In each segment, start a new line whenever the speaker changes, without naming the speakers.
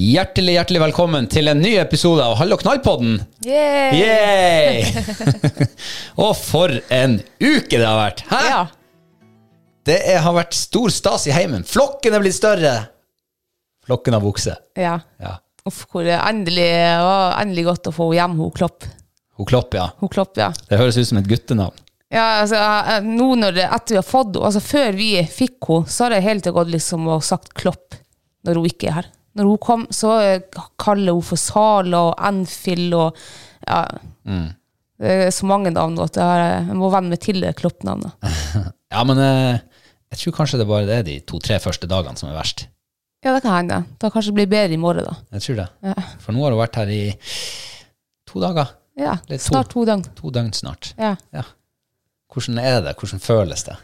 Hjertelig hjertelig velkommen til en ny episode av Hall og knall-podden.
Yay!
Yay! og for en uke det har vært! Hæ?
Ja.
Det er, har vært stor stas i heimen. Flokken er blitt større! Flokken av okse.
ja.
Ja.
Uff, hvor det endelig, å, endelig godt å få henne hjem, hun Klopp.
Hun Klopp, ja.
Hun Klopp, ja.
Det høres ut som et guttenavn.
Ja, altså, jeg- nå når det, etter vi har fått henne, altså før vi fikk henne, så har jeg hele tiden gått liksom og sagt Klopp når hun ikke er her. Når hun kom, så eh, kaller hun for Sala og Anfield og ja. Det er så mange navn nå at jeg, har, eh, jeg må venne meg til det Klopp-navnet.
Ja, men eh, jeg tror kanskje det bare det er de to-tre første dagene som er verst.
Ja, det kan hende. Da kanskje det blir bedre i morgen, da.
Jeg tror det. For nå har hun vært her i to dager.
Ja,
Eller to.
snart to døgn.
To døgn snart.
Ja.
Ja. Hvordan er det? Hvordan føles det?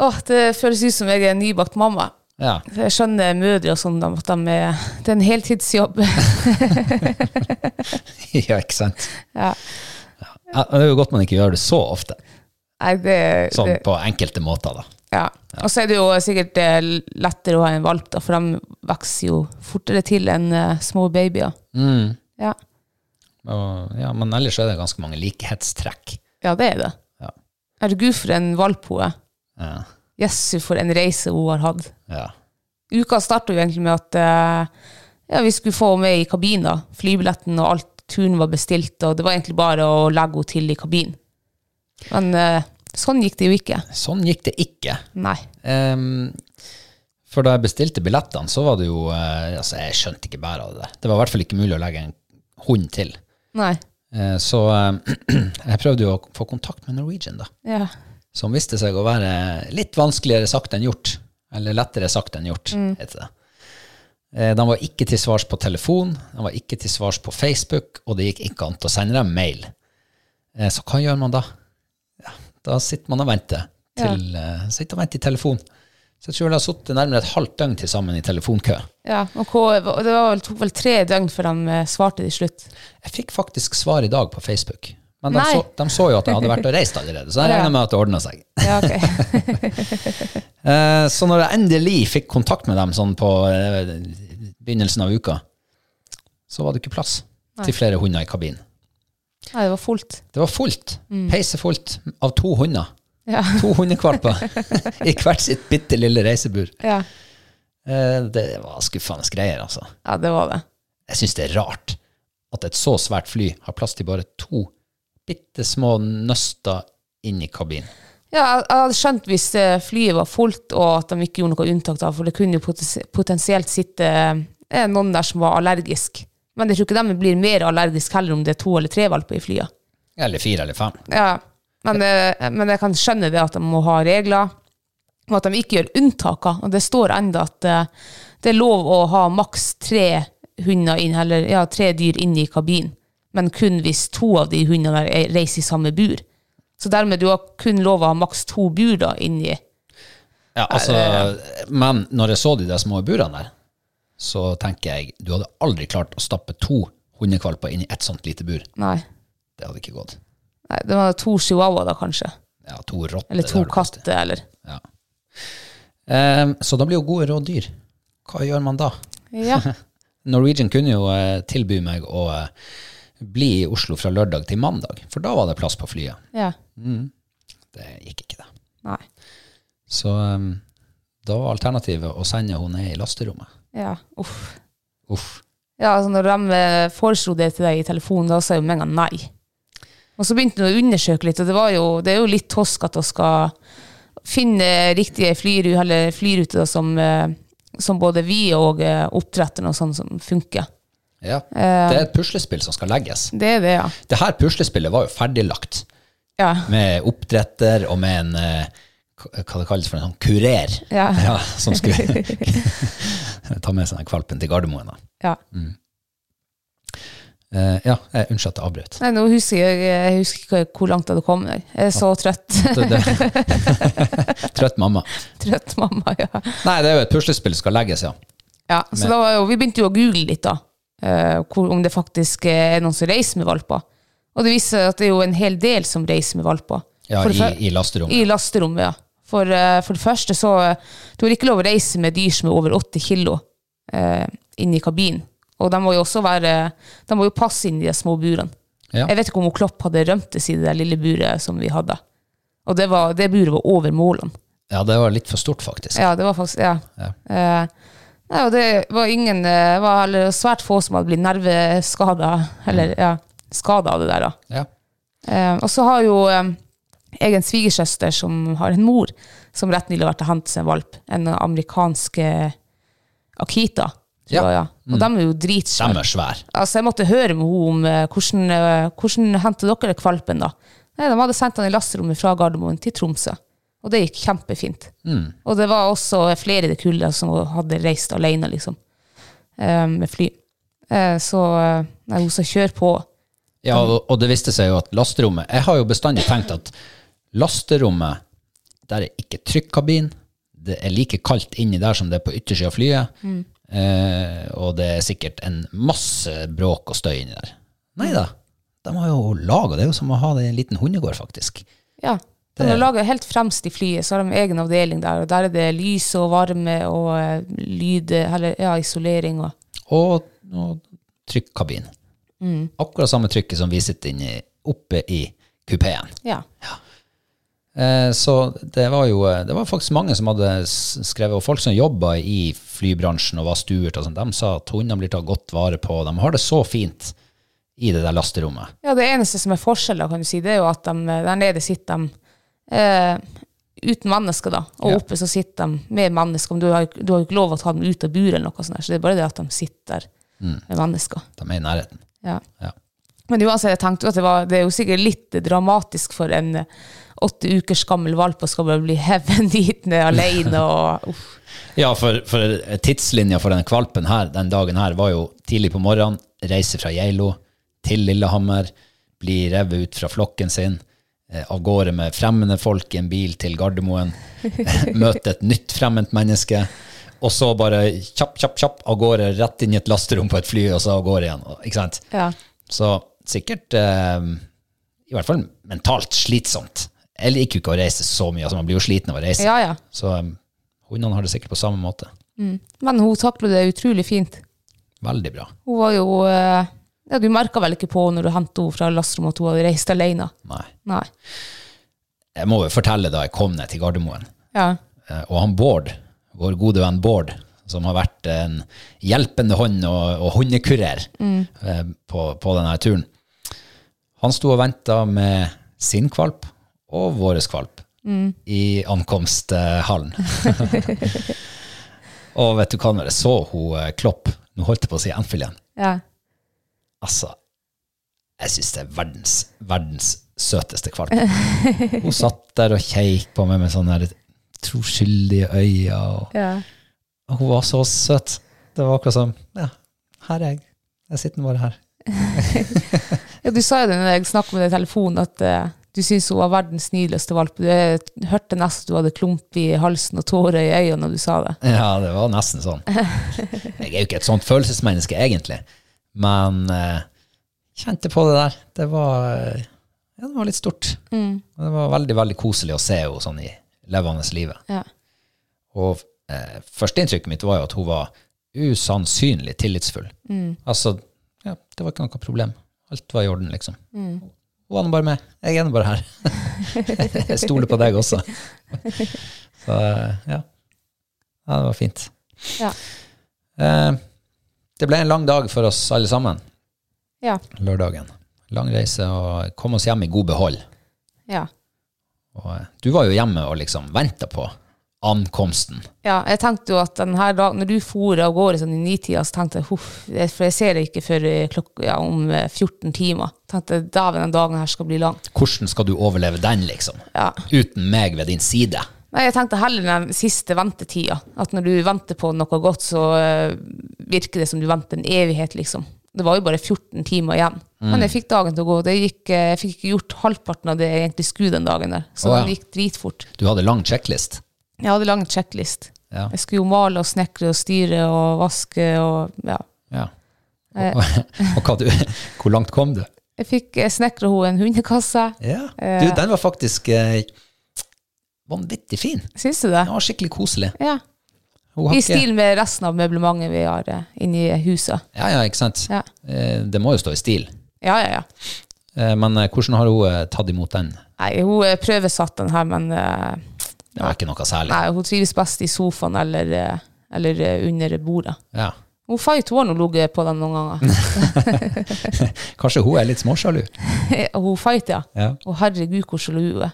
Åh, det føles ut som jeg er en nybakt mamma.
Ja.
Jeg skjønner mødre og sånn, da, at de er, det er en heltidsjobb.
ja, ikke sant?
ja.
Ja, men det er jo godt man ikke gjør det så ofte.
Nei, det,
Sånn
det,
på enkelte måter, da.
ja. Og så er det jo sikkert eh, lettere å ha en valp, da, for de vokser jo fortere til enn eh, små babyer. Ja.
Mm. Og, ja, men ellers er det ganske mange likhetstrekk.
ja, det er det.
Ja.
Herregud, for en valp hun er.
Ja.
Jesu, for en reise hun har hatt.
ja.
Uka startet jo egentlig med at eh, ja, vi skulle få henne med i kabina. Flybilletten og alt, turen var bestilt, og det var egentlig bare å legge henne til i kabinen. Men eh, sånn gikk det jo ikke.
Sånn gikk det ikke.
Nei.
Ehm, for da jeg bestilte billettene, så var det jo eh, Altså, jeg skjønte ikke bæret av det. der. Det var i hvert fall ikke mulig å legge en hund til.
Nei.
Eh, så eh, jeg prøvde jo å få kontakt med Norwegian, da.
Ja.
som viste seg å være litt vanskeligere sagt enn gjort. Eller lettere sagt enn gjort,
Mm.
heter det. Eh, De var ikke til svars på telefon, de var ikke til svars på Facebook, og det gikk ikke an til å sende dem mail. Eh, Så hva gjør man da? Ja, da sitter man og venter. Til, eh, Sitter og venter i telefon. Så jeg tror det har sittet nærmere et halvt døgn til sammen i telefonkø.
ja. Og hva- og det var vel, tok vel tre døgn før de eh, svarte til slutt.
Jeg fikk faktisk svar i dag på Facebook. Men de
Nei.
så, de så jo at jeg hadde vært og reist allerede, så jeg
Ja.
regner med at det ordna seg.
Ja, ok.
Eh, Så når jeg endelig fikk kontakt med dem sånn på eh, begynnelsen av uka, så var det ikke plass til flere hunder i kabinen.
Nei, det var fullt.
Det var fullt, peisefullt, av to hunder.
Ja.
To hundekvalper i hvert sitt bitte lille reisebur.
Ja.
Eh, Det var skuffende greier, altså.
ja, det var det.
Jeg syns det er rart at et så svært fly har plass til bare to bitte små nøster inni kabinen.
Ja, jeg jeg hadde skjønt hvis eh, flyet var fullt, og at de ikke gjorde noe unntak da, for det kunne jo potes- potensielt sitte eh, noen der som var allergisk. Men jeg tror ikke de blir mer allergisk heller om det er to eller tre valper i flyet.
Eller fire eller fem.
Ja, men, eh, men jeg kan skjønne det at de må ha regler. og at de ikke gjør unntaker. Og det står enda at eh, det er lov å ha maks tre hunder inn, eller ja, tre dyr inn i kabinen, men kun hvis to av de hundene er- reiser i samme bur. Så dermed du har kun lov å ha maks to bur da inni.
Ja, altså, men når jeg så de der små burene der, så tenker jeg du hadde aldri klart å stappe to hundekvalper inn i ett sånt lite bur.
Nei.
Det hadde ikke gått.
Nei, det var to chihuahua da, kanskje.
Ja, to rotter.
Eller
det
to
har du plass til.
katter, eller.
Ja. Ehm, så da blir jo gode råd dyr. Hva gjør man da?
Ja.
Norwegian kunne jo eh, tilby meg å eh, bli i Oslo fra lørdag til mandag, for da var det plass på flyet.
ja.
Det gikk ikke, det.
Nei.
Så ehm, da var alternativet å sende henne ned i lasterommet.
Ja. Uff.
Uff.
Ja, altså når de eh, foreslo det til deg i telefonen, da sa jeg jo med en gang nei. Og så begynte hun å undersøke litt, og det, var jo, det er jo litt tosk at hun skal finne riktige flyru- eller flyruter da, som, eh, som både vi og eh, oppdretteren og sånn som funker.
Ja. Det er et puslespill som skal legges.
Det er det, ja.
Det her puslespillet var jo ferdiglagt
Ja,
med oppdretter og med en eh, hva hva det kalles for en sånn kurer
Ja.
som skulle ta med seg den kvalpen til Gardermoen. Da.
ja.
Eh, ja, eh, unnskyld at jeg avbrøt.
Nei, nå husker jeg, jeg husker ikke hvor langt jeg hadde kommet. der. Jeg er så trøtt.
Det- det- Trøtt mamma.
trøtt mamma, ja.
Nei, det er jo et puslespill som skal legges, ja.
Ja, så da var jo, vi begynte jo å google litt da, eh, hvor, om det faktisk eh, er noen som reiser med valper. Og det viser seg at det er jo en hel del som reiser med valper.
ja
For det fyr-
I, I lasterommet.
I lasterommet, ja. For, eh, for det første så, eh, du har ikke lov å reise med dyr som er over 80 kilo eh, inn i kabinen. Og de må jo også være, de må jo passe inn i de små burene.
Ja.
Jeg vet ikke om hun Klopp hadde rømtes i det der lille buret som vi hadde. Og det, var, det buret var over målene.
ja, det var litt for stort, faktisk.
Ja, det var faktisk ja.
Ja.
Eh, nei, og det var ingen eh, var, eller, svært få som hadde blitt nerveskada eller
Mm.
ja, skada av det der. da.
Ja.
Eh, og så har jo eh, jeg en svigersøster som har en mor som rett nylig har vært og hentet seg en valp. En amerikansk eh, Akita. tror
Ja. Mm.
jeg, ja. Og de er jo dritsvære.
De er svære.
Altså, jeg måtte høre med henne om eh, hvordan, eh, hvordan hentet dere kvalpen da. Nei, de hadde sendt han i lasterommet fra Gardermoen til Tromsø. Og det gikk kjempefint. Og det var også flere i det kullet som hadde reist alene, liksom. eh, med fly. Eh, så eh, nei, hun sa kjør på.
Ja, og, og det viste seg jo at lasterommet Jeg har jo bestandig tenkt at lasterommet, der er ikke trykkabin. Det er like kaldt inni der som det er på yttersida av flyet. Eh, og det er sikkert en masse bråk og støy inni der. Nei da. De har jo laga det. er jo som å ha det i en liten hundegård, faktisk.
Ja. De
Det-
har laget helt fremst i flyet, så har de egen avdeling der. Og der er det lys og varme og eh, lyd, eller ja, isolering og
og, og trykkabin. Akkurat samme trykket som vi sitter inne i, oppe i kupeen.
Ja.
Eh, så det var jo eh, det var faktisk mange som hadde s- skrevet, og folk som jobba i flybransjen og var stuert, og sånt, de sa at hundene blir tatt godt vare på, de har det så fint i det der lasterommet.
Ja, det eneste som er forskjellen, kan du si, det er jo at de, eh, der nede sitter de eh, uten mennesker, da. Og
Ja.
oppe så sitter de med mennesker. Men du har, du har jo ikke lov å ta dem ut av buret eller noe sånt, der, så det er bare det at de sitter der med mennesker.
De er i nærheten.
Ja.
Ja.
Men uansett, jeg tenkte jo at det, var, det er jo sikkert litt dramatisk for en eh, åtte ukers gammel valp å skal bare bli hevet dit ned alene og uff.
Ja, for, for tidslinja for den kvalpen her den dagen her var jo tidlig på morgenen, reise fra Geilo til Lillehammer, bli revet ut fra flokken sin, eh, av gårde med fremmede folk i en bil til Gardermoen, møte et nytt fremmed menneske, og så bare kjapp, kjapp, kjapp, av gårde rett inn i et lasterom på et fly, og så av gårde igjen. og- Ikke sant?
Ja.
Så sikkert, eh, i hvert fall mentalt slitsomt. Jeg liker jo ikke å reise så mye, altså man blir jo sliten av å reise.
ja, ja.
Så um, hundene har det sikkert på samme måte.
Men hun taklet det utrolig fint.
Veldig bra.
Hun var jo eh, ja, Du merka vel ikke på når du hentet henne fra lasterommet at hun hadde reist alene?
Nei.
Nei.
Jeg må jo fortelle da jeg kom ned til Gardermoen,
Ja.
eh, og han Bård, vår gode venn Bård, som har vært en hjelpende hånd og, og hundekurer eh, på, på denne turen, han sto og venta med sin kvalp og vår kvalp i ankomsthallen. og vet du hva, når jeg så hun eh, Klopp, nå holdt jeg på å si Anfield igjen,
ja.
Altså, jeg syns det er verdens, verdens søteste kvalp. Hun satt der og keik på meg med sånn her troskyldige øyne. Og,
Ja.
og hun var så søt. Det var akkurat som Ja, her er jeg. Jeg sitter bare her.
Ja, du sa jo det når jeg snakket med deg i telefonen, at eh, du syns hun var verdens snilleste valp. Du eh, hørte nesten du hadde klump i halsen og tårer i øynene når du sa det.
Ja, det var nesten sånn. Jeg er jo ikke et sånt følelsesmenneske, egentlig. Men eh, kjente på det der. Det var, eh, ja, det var litt stort. Og det var veldig, veldig koselig å se henne sånn i levende livet.
Ja.
Og eh, førsteinntrykket mitt var jo at hun var usannsynlig tillitsfull.
Mm.
Altså, ja, det var ikke noe problem. Alt var i orden, liksom.
Mm.
Hun var nå bare med. Jeg er nå bare her. jeg stoler på deg også. Så eh, ja. ja, det var fint.
Ja.
Eh, det ble en lang dag for oss alle sammen
Ja.
lørdagen. Lang reise og kom oss hjem i god behold.
ja.
Og, eh, du var jo hjemme og liksom venta på ankomsten.
Ja, jeg tenkte jo at denne dagen, når du for av gårde sånn i nitida, så tenkte jeg huff, jeg- for jeg ser det ikke før eh, klokka, ja, om eh, 14 timer. tenkte jeg, dæven, den dagen her skal bli lang.
Hvordan skal du overleve den, liksom?
Ja.
Uten meg ved din side.
Nei, jeg tenkte heller den siste ventetida. At når du venter på noe godt, så eh, virker det som du venter en evighet, liksom. Det var jo bare 14 timer igjen.
Mm.
Men jeg fikk dagen til å gå. Det gikk, eh, jeg fikk ikke gjort halvparten av det jeg egentlig skulle den dagen der. Så
Å, ja.
den gikk dritfort.
Du hadde lang checklist.
Jeg hadde lang checklist.
Ja.
Jeg skulle jo male og snekre og styre og vaske og ja.
Ja.
Eh.
Og, og hva du, hvor langt kom du?
Jeg fikk eh, snekra henne en hundekasse.
Ja. Du, den var faktisk eh, vanvittig fin.
Syns du det?
Den var skikkelig koselig.
Ja.
Hun har
I
ikke-
stil med resten av møblementet vi har eh, inni huset.
Ja, ja, ikke sant.
Ja.
Eh, det må jo stå i stil.
Ja, ja, ja.
Eh, men eh, hvordan har hun eh, tatt imot den?
Nei, hun eh, prøvesatt den her, men eh,
Det var ikke noe særlig.
nei, hun trives best i sofaen eller, eh, eller eh, under bordet.
Ja.
Hun fight, hun har nå ligget på den noen ganger.
Kanskje hun er litt småsjalu?
Og hun fight, ja.
Ja.
Og herregud, hvor sjalu hun er.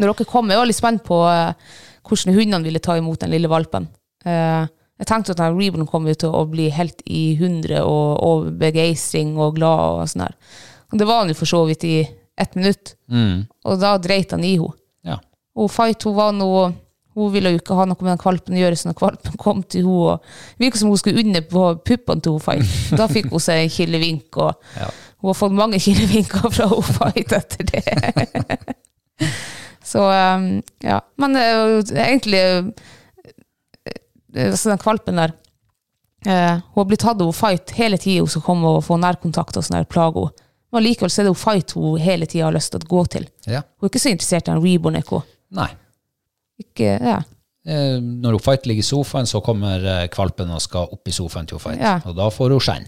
Når dere kom, jeg var litt spent på eh, hvordan hundene ville ta imot den lille valpen. Eh, jeg tenkte at den Reborn kom jo til å bli helt i hundre og, og begeistring og glad og sånn her. Og det var han jo for så vidt i ett minutt. Og da dreit han i henne.
Ja.
Og Fight hun var noe hun ville jo ikke ha noe med den kvalpen å gjøre, så når kvalpen kom til henne og virket som hun skulle under på puppene til hun Fight, da fikk hun seg en kilevink, og
Ja.
hun har fått mange kilevinker fra hun Fight etter det. så um, ja. Men eh, egentlig eh, altså den kvalpen der eh, Hun har blitt tatt av hun Fight hele tida hun skal komme og få nærkontakt og sånn her, plage henne. Men likevel så er det hun Fight hun hele tida har lyst til å gå til.
ja.
Hun er ikke så interessert i en reborn ekko.
Nei.
Ikke, ja.
Eh, når hun fight ligger i sofaen, så kommer eh, kvalpen og skal opp i sofaen til hun fight.
Ja. Mm.
Og da får hun skjenn.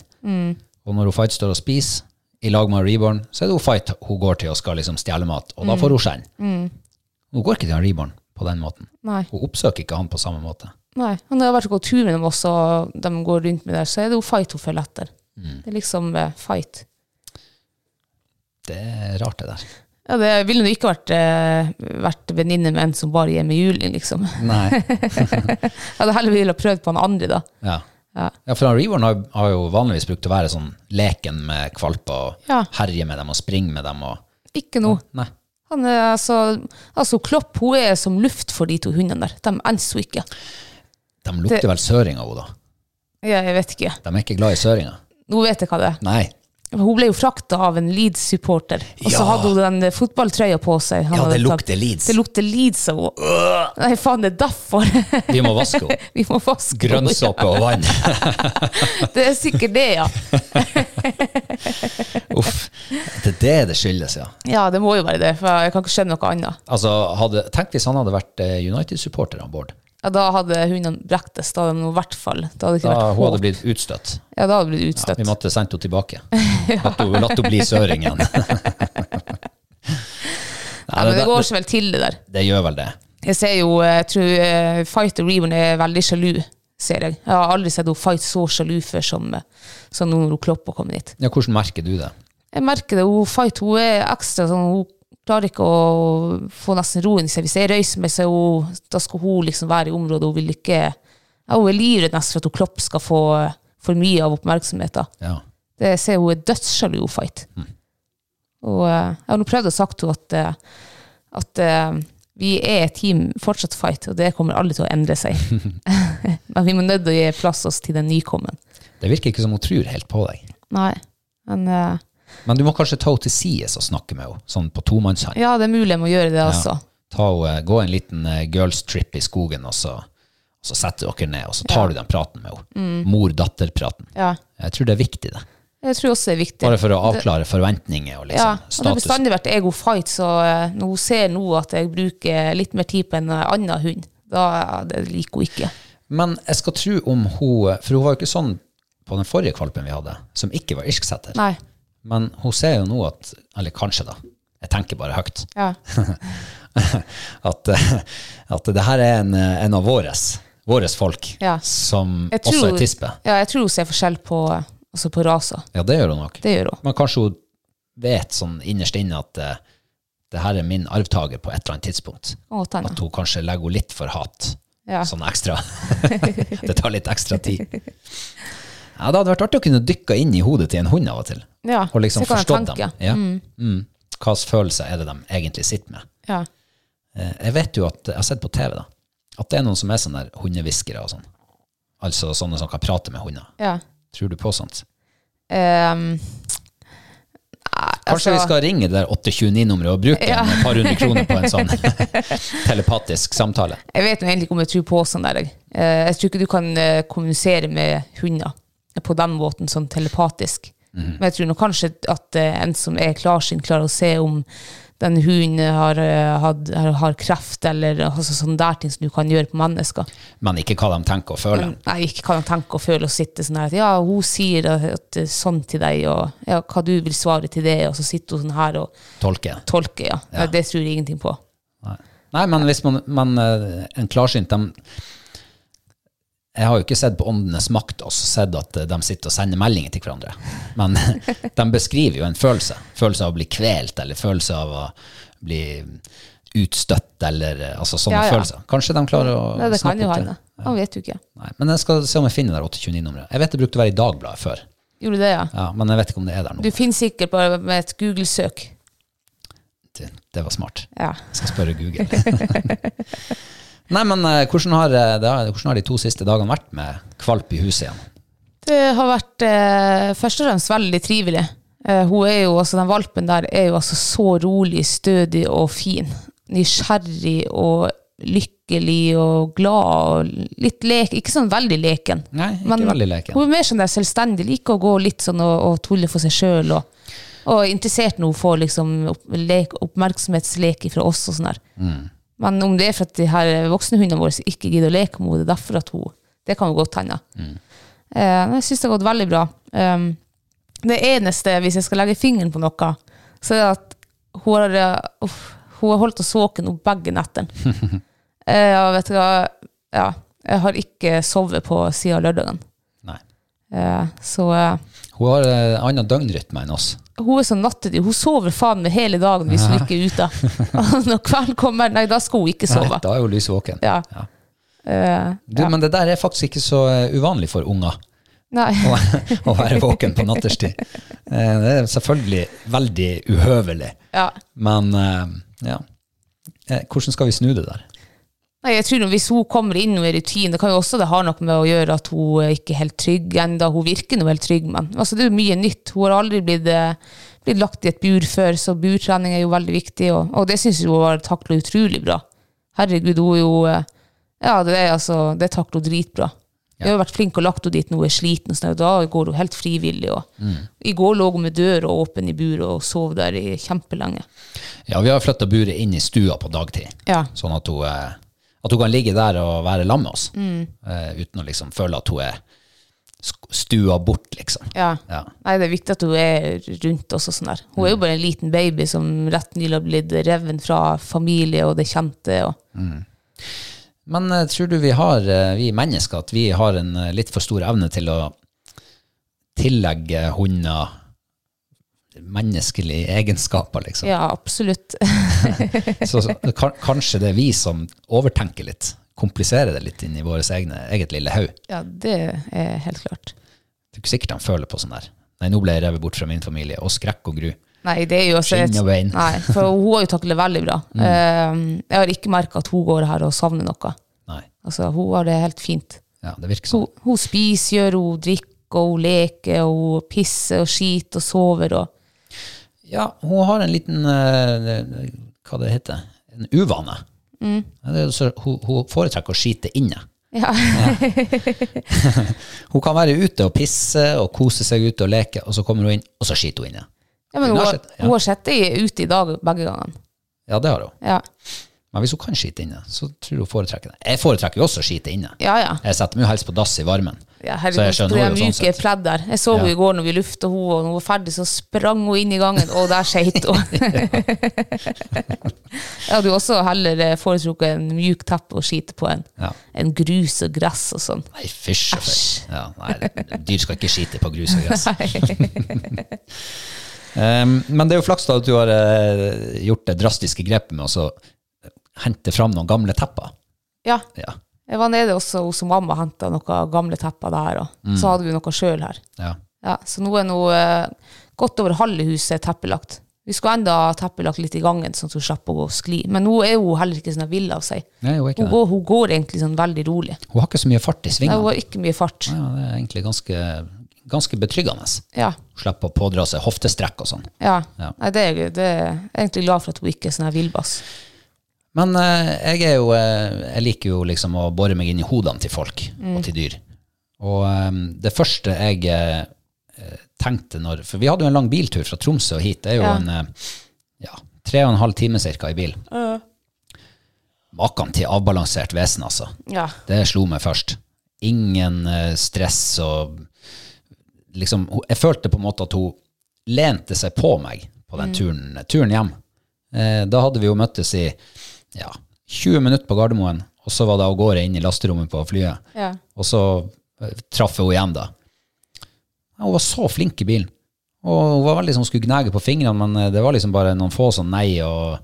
Og når hun fight står og spiser, i lag med Reborn, så er det hun fight hun går til og skal liksom stjele mat.
Mm.
Og da får hun skjenn. Hun går ikke til han Reborn på den måten.
Nei.
Hun oppsøker ikke han på samme måte.
Nei. Og når jeg har vært og gått tur med dem også, og de går rundt med der, så er det jo fight hun følger etter.
Mm.
Det er liksom eh, fight.
Det er rart, det der.
Ja, det ville nå ikke vært, eh, vært venninne med en som bare gir meg juling, liksom.
Nei.
Jeg hadde heller ville prøvd på han andre, da.
Ja.
Ja.
Ja, for han Reborn har, har jo vanligvis brukt å være sånn leken med kvalper og
Ja.
herje med dem og springe med dem og
Ikke nå.
Nei.
Han er altså, altså Klopp hun er som luft for de to hundene der. De enser hun ikke.
De lukter
Det-
vel søring av henne, da.
Jeg, jeg vet ikke.
De er ikke glad i søringa.
Nå vet jeg hva det er.
Nei.
Hun ble jo frakta av en Leeds-supporter, og så
Ja.
hadde hun den eh, fotballtrøya på seg. han
Ja, det
hadde tatt.
lukter Leeds.
Det lukter Leeds av henne. Nei, faen, det er derfor
Vi må vaske henne.
vi må vaske
Grønnsåpe og vann.
henne. Det er sikkert det, ja.
Uff. Det er det det skyldes, ja.
Ja, det må jo være det, for jeg kan ikke skjønne noe annet.
Altså, hadde, tenk hvis han hadde vært eh, United-supporter om bord.
Ja, da hadde hundene brektes, da hadde de i hvert fall Da hadde det ikke
Da
vært
hun hadde
håp.
blitt utstøtt.
Ja, da hadde det blitt
Vi
utstøtt.
måtte sendt henne tilbake. Latt hun, latt hun bli søring igjen.
ja,
Nei,
men
det,
det går
det,
så vel til, det der.
det gjør vel det.
Jeg ser jo, jeg tror eh, Fight og Reborn er veldig sjalu, ser jeg. Jeg har aldri sett henne Fight så sjalu før som, eh, som nå når hun Klopp har kommet hit.
Ja, hvordan merker du det?
Jeg merker det, hun fight, hun er ekstra sånn, hun klarer ikke å få nesten roen i seg. Hvis jeg røyser meg, så er hun, da skal hun liksom være i området, hun vil ikke, ja, hun er livredd nesten for at hun klopp skal få for mye av oppmerksomheten.
Ja.
Det jeg ser hun er dødssjalu, hun fight. Og eh, jeg har nå prøvd å sagt henne at, eh, at eh, Vi er et team fortsatt fight, og det kommer aldri til å endre seg. Men vi må nødt til å gi plass oss til den nykommen.
Det virker ikke som hun tror helt på deg.
Nei, men eh,
Men du må kanskje ta henne til sides og snakke med henne, sånn på tomannshånd.
ja, det er mulig jeg må gjøre det også.
Ta henne- Gå en liten eh, girls trip i skogen, og så, og så setter dere ned, og så tar du den praten med henne.
Mm.
Mor-datter-praten.
Ja.
Jeg tror det er viktig, det.
Jeg tror også det er viktig.
Bare for å avklare forventninger og
Ja,
liksom
og det har
status.
bestandig vært ego-fight, så eh, når hun ser nå at jeg bruker litt mer tid på en eh, annen hund, da eh, det liker hun ikke.
Men jeg skal tro om hun For hun var jo ikke sånn på den forrige valpen vi hadde, som ikke var irsksetter.
Nei,
Men hun ser jo nå at Eller kanskje, da. Jeg tenker bare høyt.
ja.
At, eh, at det her er en, eh, en av våres, våres folk
Ja.
som
Jeg
også
tror-
er tispe.
ja jeg tror hun ser forskjell på, eh, også på raser.
Ja, det gjør hun nok.
Det gjør hun.
Men kanskje hun vet sånn innerst inne at eh, det her er min arvtaker på et eller annet tidspunkt.
Kan godt hende.
At hun kanskje legger henne litt for hat.
Ja.
Sånn ekstra. det tar litt ekstra tid. Ja, det hadde vært artig å kunne dykke inn i hodet til en hund av og til.
Ja,
Og liksom
se hva de
forstått dem.
tenker.
Ja. Mm. Hva slags følelser er det de egentlig sitter med?
Ja.
Eh, Jeg vet jo at, jeg har sett på TV da, at det er noen som er sånne der hundehviskere og sånn. Altså sånne som kan prate med hunder.
ja.
Tror du på sånt?
Ehm, nei,
Kanskje
altså,
vi skal ringe det der 829-nummeret og bruke en par hundre kroner på en sånn telepatisk samtale.
Jeg vet nå egentlig ikke om jeg tror på sånn der. jeg. Eh, Jeg tror ikke du kan eh, kommunisere med hunder på den måten, sånn telepatisk. Men jeg tror nå kanskje at eh, en som er klarsynt, klarer å se om den hunden har, eh, hatt- har, har kreft, eller altså, sånn der ting som du kan gjøre på mennesker.
Men ikke hva de tenker og føler.
Men jeg ikke kan tenke og føle og sitte sånn her at ja, hun sier at, at eh, sånn til deg, og ja, hva du vil svare til det, og så sitter hun sånn her og
Tolke.
tolker, ja. Nei, Det tror jeg ingenting på.
Nei, Nei men hvis man, men eh, en klarsynt de, Jeg har jo ikke sett på Åndenes makt og så sett at eh, de sitter og sender meldinger til hverandre. Men de beskriver jo en følelse. Følelse av å bli kvelt, eller følelse av å bli utstøtt, eller eh, altså sånne
Ja, ja.
følelser. Kanskje de klarer å
Nei, det kan
snappe
jo
opp
hende. Man vet jo ikke.
Nei, men jeg skal se om jeg finner det der 829-nummeret. Jeg vet det brukte å være i Dagbladet før,
Gjorde du det, ja?
ja, men jeg vet ikke om det er der nå.
Du finner sikkert bare med et Google-søk.
Det, det var smart.
Ja.
Jeg skal spørre Google. Nei, men eh, hvordan har, eh, det, har- hvordan har de to siste dagene vært med kvalp i huset igjen?
Det har vært eh, først og fremst veldig trivelig. Eh, hun er jo, altså, den valpen der er jo altså så rolig, stødig og fin. Nysgjerrig og lykkelig og glad og litt lek. Ikke sånn veldig leken.
Nei, ikke veldig leken.
Hun er mer sånn der selvstendig, liker å gå litt sånn og, og tulle for seg sjøl. Og, og er interessert når hun får liksom opp, lek, oppmerksomhetslek fra oss og sånn der.
Mm.
Men om det er for at de her voksne hundene våre ikke gidder å leke med henne, det er derfor at hun Det kan jo godt hende. Eh, men jeg syns det har gått veldig bra. Um, det eneste, hvis jeg skal legge fingeren på noe, så er det at hun har, eh, uff, hun har holdt oss våken opp begge nettene. eh, og vet du hva, ja, jeg har ikke sovet på siden lørdagen.
Nei.
Eh, så eh,
Hun har eh, annen døgnrytme enn oss.
hun er sånn nattedyr. Hun sover faen meg hele dagen hvis hun ikke er ute. Og når kvelden kommer, nei, da skal hun ikke
Nei,
sove.
Da er hun lysvåken.
Ja.
Ja.
Eh,
Du, Men det der er faktisk ikke så eh, uvanlig for unger.
nei.
Å, å være våken på natterstid. Eh, Det er selvfølgelig veldig uhøvelig.
Ja.
Men eh, ja. Eh, Hvordan skal vi snu det der?
Nei, jeg tror Hvis hun kommer inn i rutinen, det kan jo også det har noe med å gjøre at hun er ikke er helt trygg enda, Hun virker nå helt trygg, men altså, det er jo mye nytt. Hun har aldri blitt, eh, blitt lagt i et bur før, så burtrening er jo veldig viktig. Og, og det syns hun har takla utrolig bra. Herregud, hun er jo eh, Ja, det er altså, det takler hun dritbra. Jeg har jo vært flink og lagt henne dit når hun er sliten, og sånn, og da går hun helt frivillig. Og. I går lå hun med døra åpen i buret og sov der i kjempelenge.
Ja, vi har flytta buret inn i stua på dagtid,
Ja.
sånn at hun, eh, at hun kan ligge der og være lam med oss,
Mm.
eh, uten å liksom føle at hun er sk- stua bort, liksom.
Ja.
Ja.
Nei, det er viktig at hun er rundt oss og sånn der. Hun er jo
Mm.
bare en liten baby som rett nylig har blitt reven fra familie og det kjente. Og,
Men eh, tror du vi har, eh, vi mennesker, at vi har en eh, litt for stor evne til å tillegge hunder menneskelige egenskaper, liksom?
ja, absolutt.
Så, så kan- kanskje det er vi som overtenker litt, kompliserer det litt inn i vårt egne, eget lille haug.
Ja, det er helt klart.
Det er ikke sikkert de føler på sånn der. Nei, nå ble jeg revet bort fra min familie, og skrekk og gru.
Nei, det er jo også
Skinn og bein. Mm.
Nei, for hun har jo taklet veldig bra. Eh, jeg har ikke merka at hun går her og savner noe.
Nei.
Altså, hun har det helt fint.
Ja, det virker
Hun,
sånn.
hun spiser, gjør, hun drikker, og hun leker, og hun pisser og skiter og sover og
Ja, hun har en liten eh, Hva det heter En uvane. Ja, det er jo så, hun, hun foretrekker å skite inne.
Ja.
Hun kan være ute og pisse og kose seg ute og leke, og så kommer hun inn, og så skiter hun inne.
ja men
Hun
hun,
har
har-
sett- ja.
hun har sett det ute i dag begge gangene.
Ja, det har hun.
Ja,
Men hvis hun kan skite inne, så tror hun foretrekker det. Jeg foretrekker jo også å skite inne.
ja. ja.
Jeg setter meg jo helst på dass i varmen.
Ja,
Så
herregud,
jeg skjønner
på det
henne jo sånn
myke
sett.
pledd der. Jeg så henne
Ja.
i går når vi lufta henne, og når hun var ferdig, så sprang hun inn i gangen, og der skeit hun. Jeg hadde jo også heller eh, foretrukket en mjuk teppe og skite på en,
Ja.
en grus og gress og sånn.
Nei, fysj og føy. Ja, nei, dyr skal ikke skite på grus og gress. um, men det er jo flaks da at du har eh, gjort det drastiske grepet med å så eh, hente fram noen gamle tepper.
Ja,
Ja,
jeg var nede også hos mamma og henta noen gamle tepper der, og
Mm.
så hadde vi noe sjøl her.
ja.
Ja, så nå er nå eh, godt over halve huset teppelagt. Vi skulle enda ha teppelagt litt i gangen, sånn at hun slapp å gå og skli. Men nå er hun heller ikke sånn vill av seg.
Nei, hun, er ikke
Hun
det.
går, hun går egentlig sånn veldig rolig.
hun har ikke så mye fart i
Nei, hun
svingene.
har ikke mye fart.
Ja, det er egentlig ganske, ganske betryggende.
Ja,
Hun slipper å pådra seg hoftestrekk og sånn.
ja.
Ja.
Nei, det er, det er jeg er egentlig glad for at hun ikke er sånn her villbass.
Men eh, jeg er jo eh, Jeg liker jo liksom å bore meg inn i hodene til folk og til dyr. Og eh, det første jeg eh, eh, tenkte når For vi hadde jo en lang biltur fra Tromsø og hit. Det er jo
Ja.
en eh, ja, tre og en halv time cirka i bil. Makan til avbalansert vesen, altså.
Ja.
Det slo meg først. Ingen eh, stress og liksom, hun- Jeg følte på en måte at hun lente seg på meg på den turen, turen hjem. Eh, da hadde vi jo møttes i ja, 20 minutter på Gardermoen, og så var det av gårde inn i lasterommet på flyet.
Ja.
Og så eh, traff jeg henne igjen, da. Ja, hun var så flink i bilen. Og hun var veldig sånn skulle gnage på fingrene, men eh, det var liksom bare noen få sånn nei, og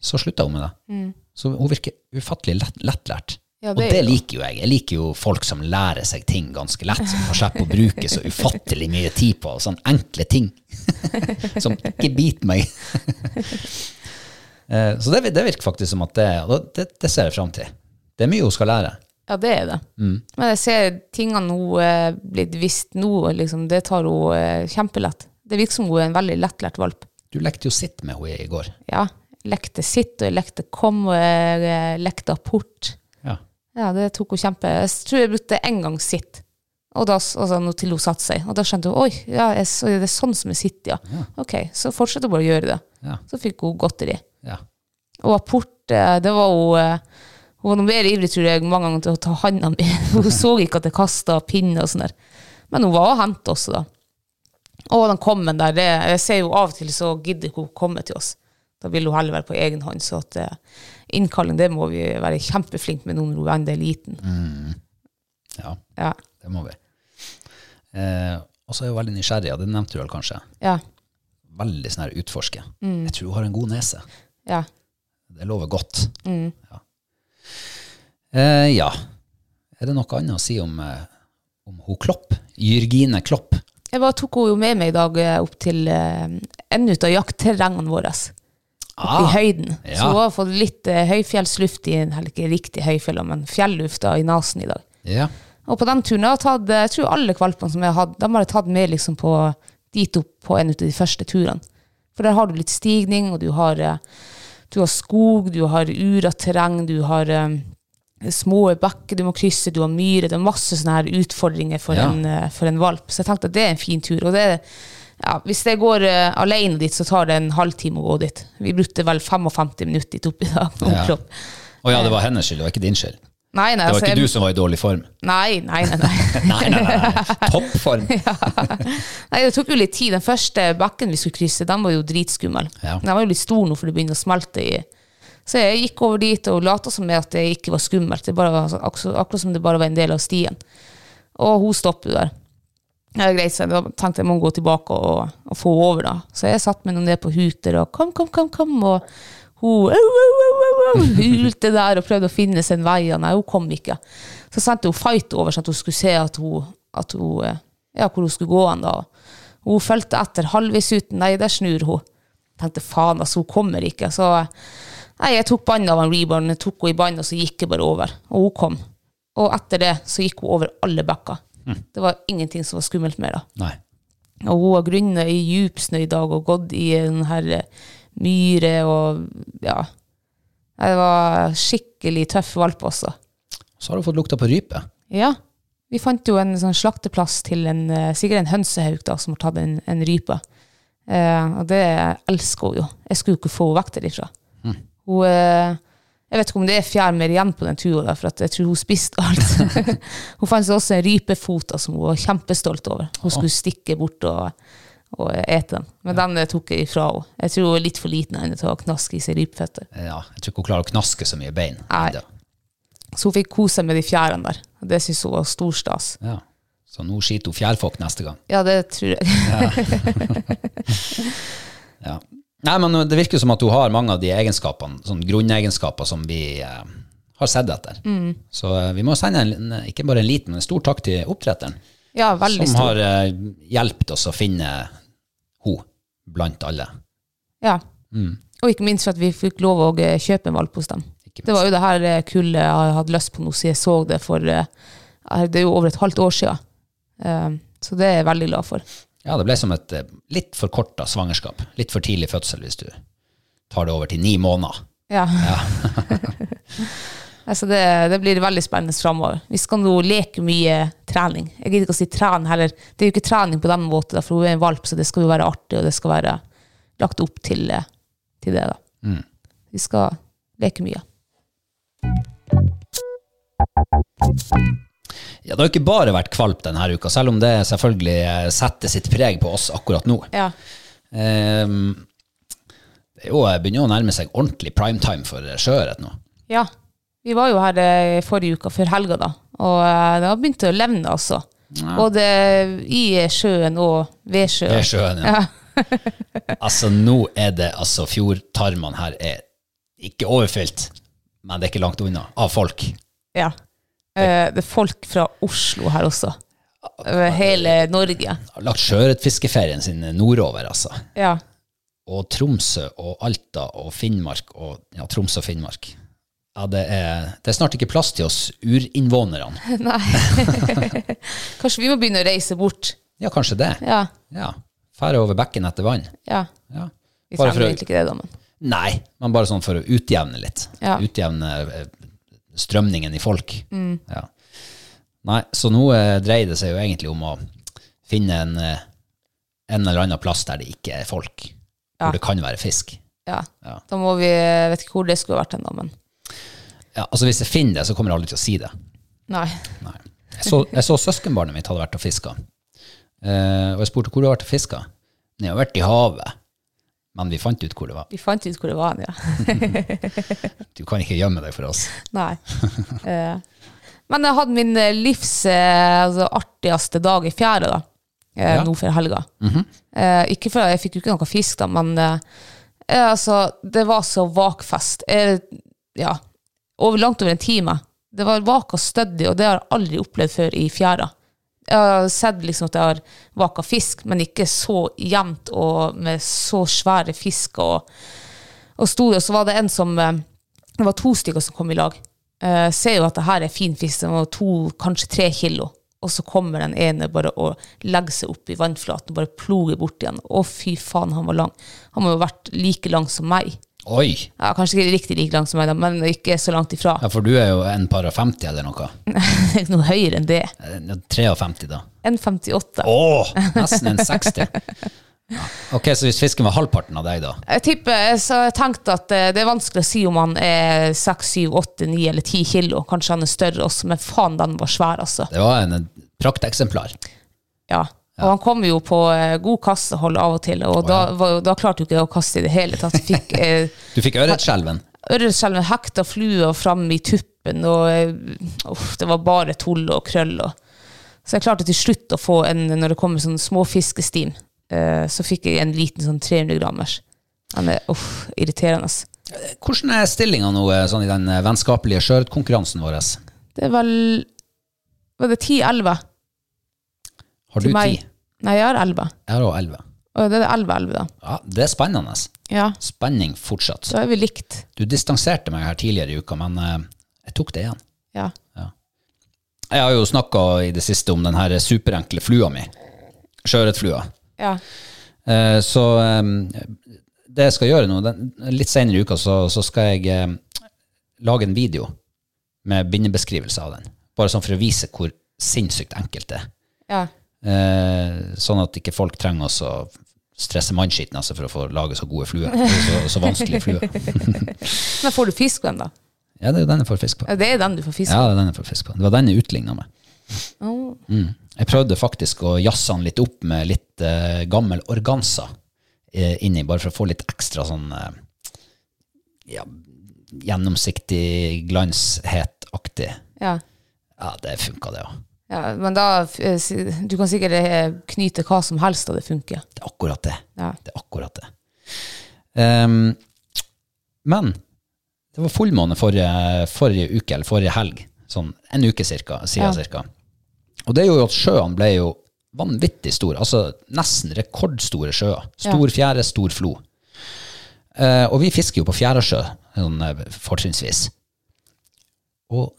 så slutta hun med det. Så hun virker ufattelig lett, lettlært.
Mm. Ja,
og
det er
det
jo-
liker jo jeg. Jeg liker jo folk som lærer seg ting ganske lett, som får slippe å bruke så ufattelig mye tid på sånn enkle ting som ikke biter meg. Eh, så det, det virker faktisk som at det, og det, det ser jeg fram til. Det er mye hun skal lære.
ja, det er det. Men jeg ser tingene hun er blitt visst nå, liksom, det tar hun eh, kjempelett. Det virker som hun er en veldig lettlært valp.
Du lekte jo sitt med henne i går.
Ja, jeg lekte sitt, og jeg lekte kom, og jeg eh, lekte apport.
Ja.
Ja, det tok hun kjempe... Jeg tror jeg brukte en gang sitt. Og da, altså, nå til hun satte seg. Og da skjønte hun, oi, ja, jeg, så det er sånn som jeg sitter, ja. Ok, så fortsatte hun bare å gjøre det.
Ja.
Så fikk hun godteri.
Ja.
Og apport, eh, det var hun... eh, Hun var noe mer ivrig, tror jeg, mange ganger til å ta handa mi. Hun så ikke at jeg kastet pinne og sånn der. Men hun var og hentet også da. Og den kommen der, det, jeg ser jo av og til så gidder ikke hun komme til oss. Da vil hun heller være på egen hånd, så at eh, innkalling, det må vi være kjempeflink med nå når hun endelig er liten.
Mm. ja,
Ja,
det må vi. Eh, og så er jeg veldig nysgjerrig, og det nevnte du vel kanskje.
ja,
Veldig sånn her utforske.
Mm.
Jeg tror hun har en god nese.
ja.
Det lover godt.
Mm.
Ja. Eh, ja. Er det noe annet å si om, eh, om hun Klopp? Jørgine Klopp.
Jeg bare tok henne jo med meg i dag eh, opp til eh, enden ut av jaktterrengene våre. Opp i høyden.
Ah, ja.
Så hun har fått litt eh, høyfjellsluft i, eller ikke riktig høyfjell, men fjellufta i nesen i dag.
Ah, Ja.
Og på den turen, jeg, har tatt, jeg tror alle valpene som jeg hadde, de har jeg tatt med liksom på, dit opp på en av de første turene. For der har du litt stigning, og du har, eh, du har skog, du har urat terreng, du har eh, små bekker du må krysse, du har myrer. Det er masse sånne her utfordringer for,
Ja.
en, eh, for en valp. Så jeg tenkte at det er en fin tur. Og det, ja, hvis jeg går eh, alene dit, så tar det en halvtime å gå dit. Vi brukte vel 55 minutter dit oppe i dag. på
Ja.
Klopp.
Å ja, det var hennes skyld, det var ikke din skyld. Det
Nei, nei,
var
altså,
ikke
jeg-
du som var i dårlig form.
Nei, nei, nei. nei.
Nei, nei, nei. nei. Toppform.
Nei, det tok jo litt tid. Den første bekken vi skulle krysse, den var jo dritskummel.
Ja.
Den var jo litt stor nå, for det begynner å smelte i. Så jeg gikk over dit og lata som med at det ikke var skummelt. Det bare var, så- akkurat akkurat som det bare var en del av stien. Og hun stoppet jo der. Ja, greit, så da tenkte jeg må gå tilbake og, og få henne over, da. Så jeg satte meg nå ned på huter og kom, kom, kom, kom. Og hun au, au, au, au, au, hylte der og prøvde å finne sin vei. Og nei, hun kom ikke. Så sendte hun fight over, sånn at hun skulle se at hun, at hun eh, ja, hvor hun skulle gå hen. da. Hun fulgte etter halvveis ut. Nei, der snur hun. Tenkte faen, altså, hun kommer ikke. Så eh, nei, jeg tok bånd av en reborn, jeg tok henne i bånd, og så gikk jeg bare over. Og hun kom. Og etter det så gikk hun over alle bekker. Det var ingenting som var skummelt med det.
Nei.
Og hun har grunna i djup snø i dag og gått i den her eh, myre og ja. Det var skikkelig tøff valp også.
Så har hun fått lukta på rype.
Ja. Vi fant jo en sånn slakteplass til en, eh, sikkert en hønsehauk da, som har tatt en, en rype. Eh, og det elsker hun jo. Jeg skulle jo ikke få henne vekk derifra. Hun, eh, jeg vet ikke om det er fjær mer igjen på den turen, da, for at jeg tror hun spiste alt. hun fant seg også en rypefot da, som hun var kjempestolt over. Hun skulle stikke bort og, og ete den. Men den eh, tok jeg ifra henne. Jeg tror hun er litt for liten ennå til å knaske i seg rypeføtter.
Eh, Ja, jeg tror ikke hun klarer å knaske så mye bein.
Nei.
enda.
Så hun fikk kose seg med de fjærene der. Og Det syntes hun var stor stas.
Ja. Så nå skiter hun fjærfolk neste gang.
Ja, det tror jeg.
Ja. Nei, men eh, det virker som at hun har mange av de egenskapene, sånn grunnegenskaper som vi eh, har sett etter.
Mm.
Så eh, vi må sende en, ikke bare en liten, men en stor takk til oppdretteren,
Ja, veldig
som
stor.
har eh, hjulpet oss å finne hun blant alle.
Ja. Og ikke minst for at vi fikk lov å eh, kjøpe en valp hos dem.
Mm. Ikke minst.
Det var jo det her eh, kullet jeg har hatt lyst på nå siden jeg så det for eh, er- Det er jo over et halvt år siden. Eh, Så det er jeg veldig glad for.
Ja, det ble som et eh, litt forkorta svangerskap. Litt for tidlig fødsel, hvis du tar det over til ni måneder.
Ja. altså det, det blir veldig spennende framover. Vi skal nå leke mye trening. Jeg gidder ikke å si tren heller. Det er jo ikke trening på den måten, da, for hun er en valp, så det skal jo være artig, og det skal være lagt opp til, eh, til det. da.
Mm.
Vi skal leke mye.
Ja, det har jo ikke bare vært kvalp denne uka, selv om det selvfølgelig eh, setter sitt preg på oss akkurat nå.
Ja.
Ehm, det er jo, eh, begynner jo å nærme seg ordentlig primetime for eh, sjøørret nå.
Ja. Vi var jo her eh, forrige uka, før helga, da. Og eh, det har begynt å levne, altså. Både i sjøen og ved
Ved
sjøen.
sjøen, ja. altså, nå er det altså Fjordtarmene her er ikke overfylt, men det er ikke langt unna, av folk.
Ja. Eh, Det er folk fra Oslo her også. Over hele Norge.
Har lagt sjøørretfiskeferien sin nordover, altså.
Ja.
Og Tromsø og Alta og Finnmark og Ja, Tromsø og Finnmark. Ja, det er, det er snart ikke plass til oss urinnvånerne.
Nei. Kanskje vi må begynne å reise bort.
Ja, kanskje det.
Ja.
Ja. Fære over bekken etter vann.
ja.
Ja.
Vi
Bare for å
trenger egentlig ikke det, da, men.
Nei, men bare sånn for å utjevne litt.
Ja.
Utjevne eh, strømningen i folk. Ja. Nei, så nå eh, dreier det seg jo egentlig om å finne en, eh, en eller annen plass der det ikke er folk. Hvor det kan være fisk.
Ja.
Ja.
Da må vi jeg Vet ikke hvor det skulle vært hen, da, men.
Ja, altså Hvis jeg finner det, så kommer jeg aldri til å si det.
Nei.
Nei. Jeg så, jeg så søskenbarnet mitt hadde vært og fiska. Eh, og jeg spurte hvor du har vært og fiska. Nei, jeg har vært i havet. Men vi fant ut hvor det var.
Vi fant ut hvor det var hen, ja.
Du kan ikke gjemme deg for oss.
Nei. Eh, men jeg hadde min eh, livs eh, altså, artigste dag i fjæra da, eh,
Ja.
nå før helga. eh, ikke for, jeg fikk jo ikke noe fisk, da, men eh, eh, altså, det var så vakfest. Eh, ja, over, langt over en time. Det var vaka stødig, og det har jeg aldri opplevd før i fjæra. Jeg har sett liksom at jeg har vaka fisk, men ikke så jevnt og med så svære fisk. og og sto det, og så var det en som eh, Det var to stykker som kom i lag. Eh, ser jo at det her er fin fisk, den var to, kanskje tre kilo. Og så kommer den ene bare og legger seg opp i vannflaten, bare ploger bort igjen. Å, fy faen, han var lang. Han må jo ha vært like lang som meg.
Oi!
Ja, kanskje ikke riktig like lang som meg, da, men ikke så langt ifra.
Ja, For du er jo en par og 50 eller noe.
Det er Ikke noe høyere enn det.
Eh, 53, da.
1,58.
Å! Nesten en 60. Ja. Ok, Så hvis fisken var halvparten av deg, da?
Jeg tipper, eh, så jeg tenkte at eh, det er vanskelig å si om han er 6, 7, 8, 9 eller 10 kilo. Kanskje han er større også, men faen, den var svær, altså.
Det var en, en prakteksemplar.
Ja. Og han kom jo på eh, god kassehold av og til, og da, var, jo- da klarte jo ikke jeg å kaste i det hele tatt. Jeg Fikk eh,
Du fikk ørretskjelven?
ørretskjelven hekta flua fram i tuppen, og eh, uff, det var bare tull og krøll. Og. Så jeg klarte til slutt å få en, når det kommer sånne små fiskestim, eh, så fikk jeg en liten sånn 300 grammers. Han er uff, irriterende. ass.
Hvordan er stillinga nå eh, sånn i den eh, vennskapelige sjøørretkonkurransen vår?
Det er vel Var det 10-11?
Har du
Til meg.
ti?
Nei, jeg har elleve.
Jeg har òg elleve.
Og det er elleve-elleve, da.
Ja, det er spennende.
Ja,
Spenning fortsatt.
så er vi likt.
Du distanserte meg her tidligere i uka, men eh, jeg tok det igjen.
Ja.
Jeg har jo snakka i det siste om den her superenkle flua mi. Sjøørretflua.
ja.
Eh, Så eh, det jeg skal gjøre nå, den, litt senere i uka, så, så skal jeg eh, lage en video med bindebeskrivelse av den. Bare sånn for å vise hvor sinnssykt enkelt det er.
ja.
Eh, sånn at ikke folk trenger oss å stresse mannskitten altså, for å få lage så gode fluer. Så, så vanskelige fluer.
Men får du fisk på den, da?
Ja, det er jo den jeg får fisk på.
Ja, det er den du får fisk
Ja,
på.
det er den jeg får fisk på. Det var den jeg utligna med.
Åh.
Mm. Jeg prøvde faktisk å jazze han litt opp med litt eh, gammel organza eh, inni, bare for å få litt ekstra sånn eh, ja, gjennomsiktig, glanshetaktig.
Ja.
Ja, det funka, det òg.
ja. Men da eh, si- Du kan sikkert eh, knyte hva som helst, og det funker.
Det er akkurat det.
Ja.
Det er akkurat det. Ehm, men det var fullmåne forrige, forrige uke, eller forrige helg. Sånn en uke cirka, siden
Ja.
cirka. Og det gjorde jo at sjøene ble jo vanvittig store. Altså nesten rekordstore sjøer. Stor fjære, stor flo. Eh, og vi fisker jo på Fjærasjø, sånn eh, fortrinnsvis. Og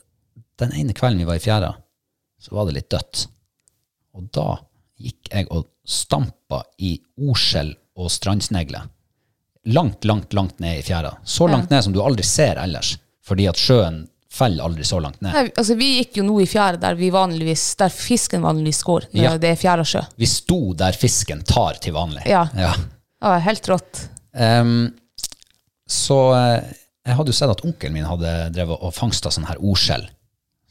den ene kvelden vi var i fjæra, så var det litt dødt. Og da gikk jeg og stampa i orskjell og strandsnegler. Langt, langt, langt ned i fjæra. Så langt ned som du aldri ser ellers, fordi at sjøen faller aldri så langt ned.
Nei, altså, vi gikk jo nå i fjæra der, vi vanligvis, der fisken vanligvis går, når
Ja.
det er fjæra sjø.
Vi sto der fisken tar til vanlig.
Ja. Ja, helt rått.
Ehm, så eh, jeg hadde jo sett at onkelen min hadde drevet og fangsta sånn her orskjell.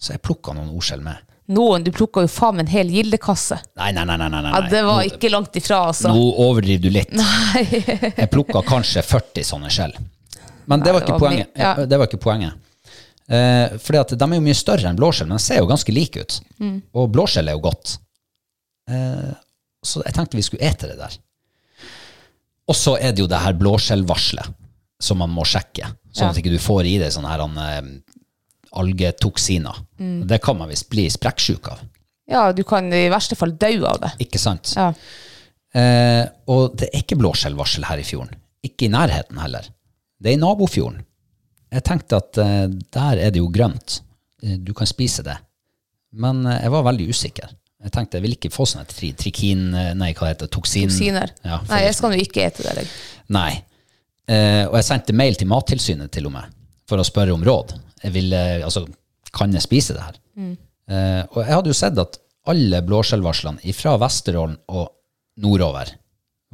Så jeg plukka noen orskjell med.
Noen, du plukka jo faen meg en hel gildekasse.
Nei, nei, nei. nei, nei, nei.
Ja, det var
Nå-
ikke langt ifra, altså.
Nå overdriver du litt. jeg plukka kanskje 40 sånne skjell. Men det
Nei,
var
det
ikke
var
poenget.
mye. Ja.
Det var ikke poenget. Eh, fordi at de er jo mye større enn blåskjell, men de ser jo ganske like ut.
Mm.
Og blåskjell er jo godt. Eh, så jeg tenkte vi skulle ete det der. Og så er det jo det her blåskjellvarselet som man må sjekke, sånn
Ja.
at ikke du får i deg sånne her eh, algetoksiner.
Mm.
Det kan man visst bli sprekksjuk av.
Ja, du kan i verste fall dø av det.
Ikke sant?
Ja.
Eh, og det er ikke blåskjellvarsel her i fjorden. Ikke i nærheten heller. Det er i nabofjorden. Jeg tenkte at eh, der er det jo grønt. Eh, Du kan spise det. Men eh, jeg var veldig usikker. Jeg tenkte jeg vil ikke få sånne tri trikin... eh, Nei, hva heter det? Toksin...
Toksiner.
Ja,
Nei, jeg
forgiftning.
skal nå ikke ete det. jeg.
Nei. Eh, og jeg sendte mail til Mattilsynet til og med, for å spørre om råd. Jeg ville, altså, kan jeg spise det her? Eh, og jeg hadde jo sett at alle blåskjellvarslene fra Vesterålen og nordover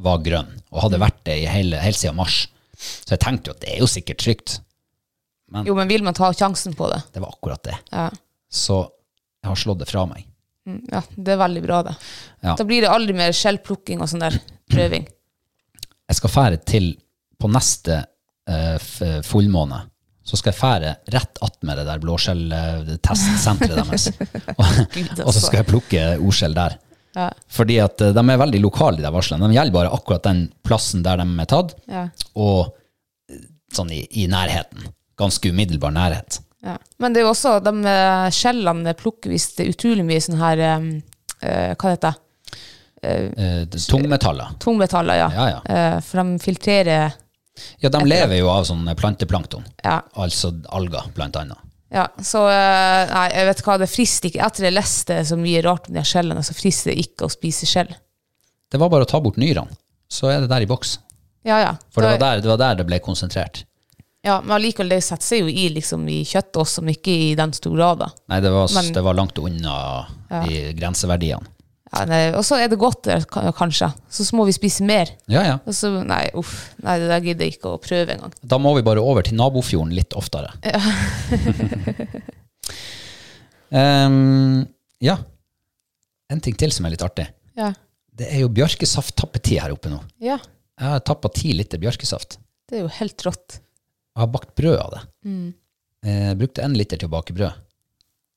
var grønne, og hadde vært det i hele, helt siden mars. Så jeg tenkte jo at det er jo sikkert trygt.
Jo, men vil man ta sjansen på det?
Det var akkurat det.
Ja.
Så jeg har slått det fra meg.
Mm, ja, det er veldig bra, det.
Ja.
Da blir det aldri mer skjellplukking og sånn der prøving.
jeg skal fære til på neste eh, f- fullmåne, så skal jeg fære rett att med det der blåskjelltestsenteret deres. og, og så skal jeg plukke ordskjell der.
altså. Ja.
Fordi at eh, de er veldig lokale, de der varslene. De gjelder bare akkurat den plassen der de er tatt,
Ja.
og eh, sånn i, i nærheten. Ganske umiddelbar nærhet.
Ja. Men det er jo også de eh, skjellene plukker hvis det er utrolig mye sånn her um, eh, Hva heter det?
Eh, det- tungmetaller.
Tungmetaller, ja.
Ja, ja.
Eh, for de filtrerer
Ja, de lever jo av sånn planteplankton.
Ja.
Altså alger, blant annet.
ja. Så eh, nei, jeg vet hva, det frister ikke. Etter jeg leste så mye rart om de her skjellene, så frister det ikke å spise skjell.
Det var bare å ta bort nyrene, så er det der i boks.
Ja, ja.
For det
Da-
var der det, var der det ble konsentrert.
Ja, men allikevel, det setter seg jo i, liksom, i kjøttet også, men ikke i den store graden.
Nei, det var,
Men-
det var langt unna de grenseverdiene.
Ja, nei, og så er det godt der, ka- kanskje. Så må vi spise mer.
Ja, ja.
Og så, nei, uff. Nei, det der gidder jeg ikke å prøve engang.
Da må vi bare over til nabofjorden litt oftere. Ja. Ehm, ja. En ting til som er litt artig.
Ja.
Det er jo bjørkesafttappetid her oppe nå.
ja.
Jeg har tappa ti liter bjørkesaft.
Det er jo helt rått.
Jeg har bakt brød av det. Eh, brukte en liter til å bake brød.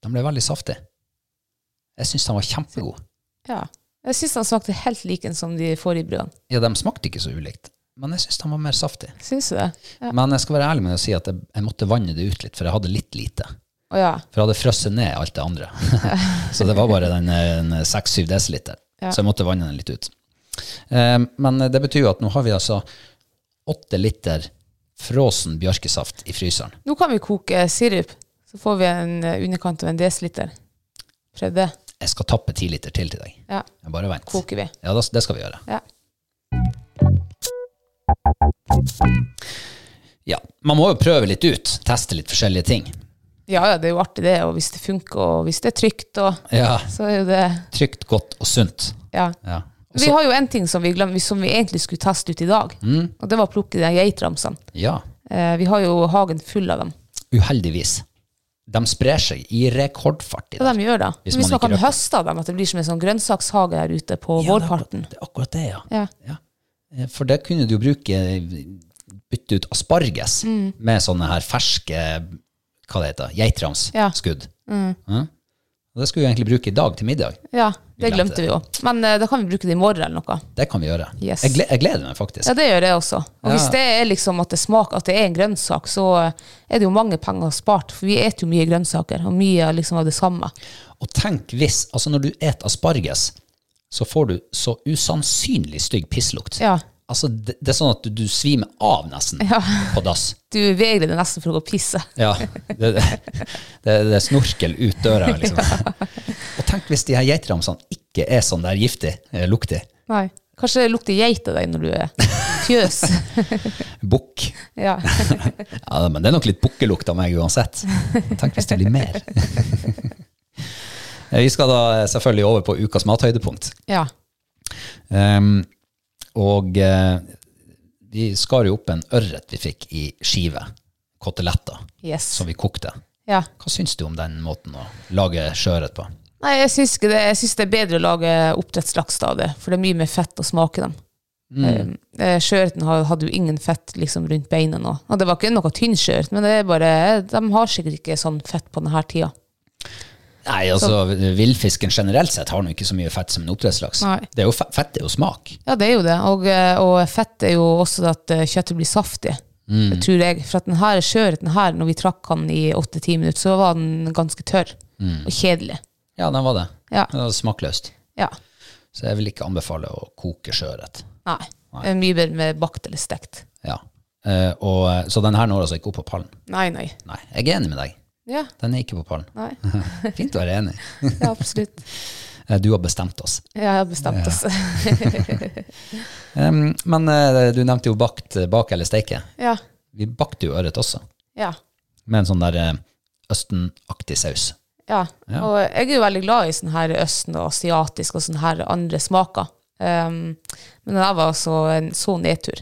Den ble veldig saftig. Jeg syns den var kjempegod.
Ja. Jeg syns den smakte helt lik en som de forrige brødene.
Ja, de smakte ikke så ulikt, men jeg syns den var mer saftig.
Syns du det? Ja.
Men jeg skal være ærlig med å si at jeg, jeg måtte vanne det ut litt, for jeg hadde litt lite.
Å ja.
For jeg hadde frosset ned alt det andre. så det var bare den, eh, den 6-7 dl.
Ja.
Så jeg måtte vanne den litt ut. Eh, men det betyr jo at nå har vi altså åtte liter frossen bjørkesaft i fryseren.
Nå kan vi koke eh, sirup. Så får vi en eh, underkant av en desiliter. Prøv det.
Jeg skal tappe ti liter til til deg.
Ja,
Jeg bare vent.
koker vi.
Ja, da- det skal vi gjøre.
Ja.
Ja. Man må jo prøve litt ut. Teste litt forskjellige ting.
ja, ja, det er jo artig det. Og hvis det funker, og hvis det er trygt, og
Ja.
så er jo det
Trygt, godt og sunt.
Ja.
Ja.
Vi har jo en ting som vi, glem, som vi egentlig skulle teste ut i dag,
Mm.
og det var å plukke de geitramsene.
ja.
Eh, vi har jo hagen full av dem.
Uheldigvis. De sprer seg i rekordfart i
Ja,
dag.
de gjør det.
Hvis
Hvis, hvis
man
man
ikke
kan
røkker.
høste av dem, at det blir som en sånn grønnsakshage her ute på
Ja, det er
vårparten.
akkurat- Det er akkurat det, ja.
Ja.
ja. Eh, For det kunne du jo bruke Bytte ut asparges med sånne her ferske hva det heter,
Mm. Ja. Mm.
geitramsskudd. Ja. Og Det skulle vi egentlig bruke i dag til middag.
Ja,
Vi
det
glemte
glemte vi jo. Men eh, da kan vi bruke det i morgen eller noe.
Det kan vi gjøre.
Yes.
Jeg, gle jeg gleder meg faktisk.
Ja, det gjør jeg også. Og
Ja.
hvis det er liksom at det smaker, at det er en grønnsak, så eh, er det jo mange penger spart. For vi eter jo mye grønnsaker, og mye liksom av det samme.
Og tenk hvis, altså når du et asparges, så får du så usannsynlig stygg pisslukt.
Ja.
Altså, det, det er sånn at du, du svimer av nesten på dass.
Du vegrer deg nesten for å gå og pisse.
Ja, det, det, det, det er snorkel ut døra, liksom. Og tenk hvis de her geitramsene ikke er sånn der giftig, eh, luktig.
Nei. Kanskje det lukter geit av deg når du er fjøs.
Bukk.
ja.
Ja, men det er nok litt bukkelukt av meg uansett. Tenk hvis det blir mer. Eh, Vi skal da selvfølgelig over på ukas mathøydepunkt.
ja.
Ehm, og eh, vi skar jo opp en ørret vi fikk i skive, koteletter,
Yes.
som vi kokte.
Ja.
Hva syns du om den måten å lage sjøørret på?
Nei, jeg syns ikke det. Jeg syns det er bedre å lage oppdrettslaks av det, for det er mye mer fett å smake dem. Mm. Sjøørreten har- hadde jo ingen fett liksom, rundt beina nå. Og det var ikke noe tynn sjøørret, men det er bare, de har sikkert ikke sånn fett på denne tida.
Nei, altså Villfisken generelt sett har nå ikke så mye fett som en oppdrettslaks.
Nei.
Det er jo fe- Fett er jo smak.
Ja, det er jo det. Og, eh, og fett er jo også det at eh, kjøttet blir saftig. Det tror jeg. For at den her sjøørreten her, når vi trakk den i åtte-ti minutter, så var den ganske tørr og kjedelig.
Ja, den var det.
Ja.
Det var smakløst.
Ja.
Så jeg vil ikke anbefale å koke sjøørret.
Nei. Det er Mye bedre med bakt eller stekt.
Ja. Eh, og, eh, så den her når altså ikke opp på pallen.
Nei, nei.
Nei, jeg er enig med deg.
Ja,
Den er ikke på pallen.
nei.
Fint å være enig.
Ja, absolutt.
Eh, Du har bestemt oss.
Ja, jeg har bestemt oss.
Em, men eh, du nevnte jo bakt, eh, bake eller steike.
Ja.
Vi bakte jo ørret også,
Ja.
med en sånn der eh, østenaktig saus.
ja.
Ja.
Og jeg er jo veldig glad i sånn her østen og asiatisk og sånne her andre smaker. Um, men det der var altså en så nedtur.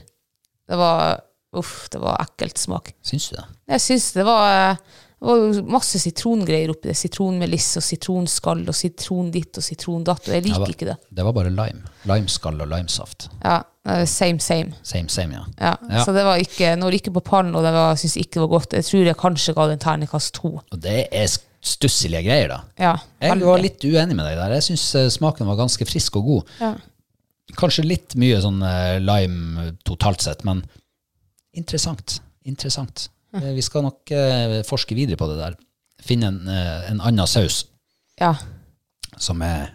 Det var Uff, det var ekkelt smak.
Syns du det?
Jeg syns det var eh, det var jo masse sitrongreier oppi det. Sitronmeliss og sitronskall og sitron ditt og sitron datt. Og jeg liker
var-
ikke det.
Det var bare lime. Limeskall og limesaft.
Ja, eh, Same, same.
Same, same, ja.
Ja.
Ja.
Så det var ikke Når det ikke på pallen, og det var- jeg syns ikke det var godt Jeg tror jeg kanskje ga den terningkast to.
Og det er sk- stusselige greier, da.
Ja,
Jeg
veldig.
var litt uenig med deg der. Jeg syns smaken var ganske frisk og god.
Ja.
Kanskje litt mye sånn eh, lime totalt sett, men interessant. Interessant.
Hm.
Eh, Vi skal nok eh, forske videre på det der. Finne en, eh, en annen saus
ja.
som er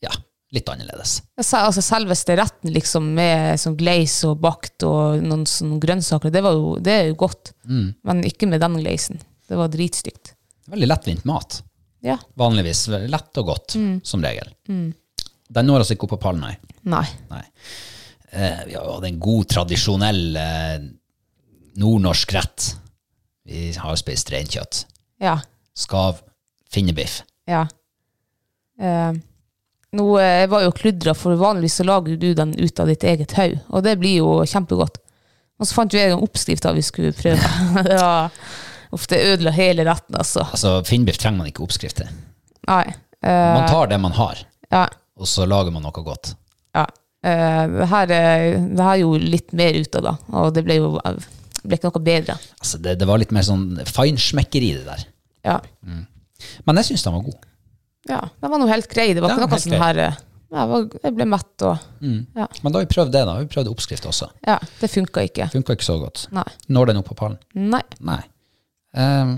ja, litt annerledes.
Jeg sa- Altså selveste retten liksom med sånn glaze og bakt og noen sånne grønnsaker, det, var jo, det er jo godt. Men ikke med den glazen. Det var dritstygt.
Veldig lettvint mat.
Ja.
Vanligvis veldig lett og godt,
Hm.
som regel. Den når altså ikke opp på pallen, nei.
Nei.
Nei. Eh, vi har jo hatt en god, tradisjonell eh, nordnorsk rett. Vi har spist reinkjøtt.
Ja.
Skav, finnebiff.
Ja. Eh, nå eh, jeg var jo kludra, for vanligvis så lager jo du den ut av ditt eget hode, og det blir jo kjempegodt. Og så fant jo jeg en oppskrift da vi skulle prøve. det var, uff, det ødela hele retten, altså.
Altså, Finnbiff trenger man ikke oppskrift til.
Nei. Eh,
Man tar det man har,
ja.
og så lager man noe godt.
Ja. Eh, det, her, eh, det her gjorde litt mer ut av det, og det ble jo det ble ikke noe bedre.
Altså, det, det var litt mer sånn feinschmeckeri, det der.
Ja.
Men jeg syns den var god.
ja. Det var noe helt grei. Det var
Det
ikke
var
noe
helt
sånn her eh, ja, jeg var- Jeg ble mett og ja.
Men da har vi prøvd det, da. Vi har prøvd oppskrift også.
ja. Det funka ikke.
Funka ikke så godt.
Nei.
Når den opp på pallen?
Nei.
Nei. Eh, Ehm,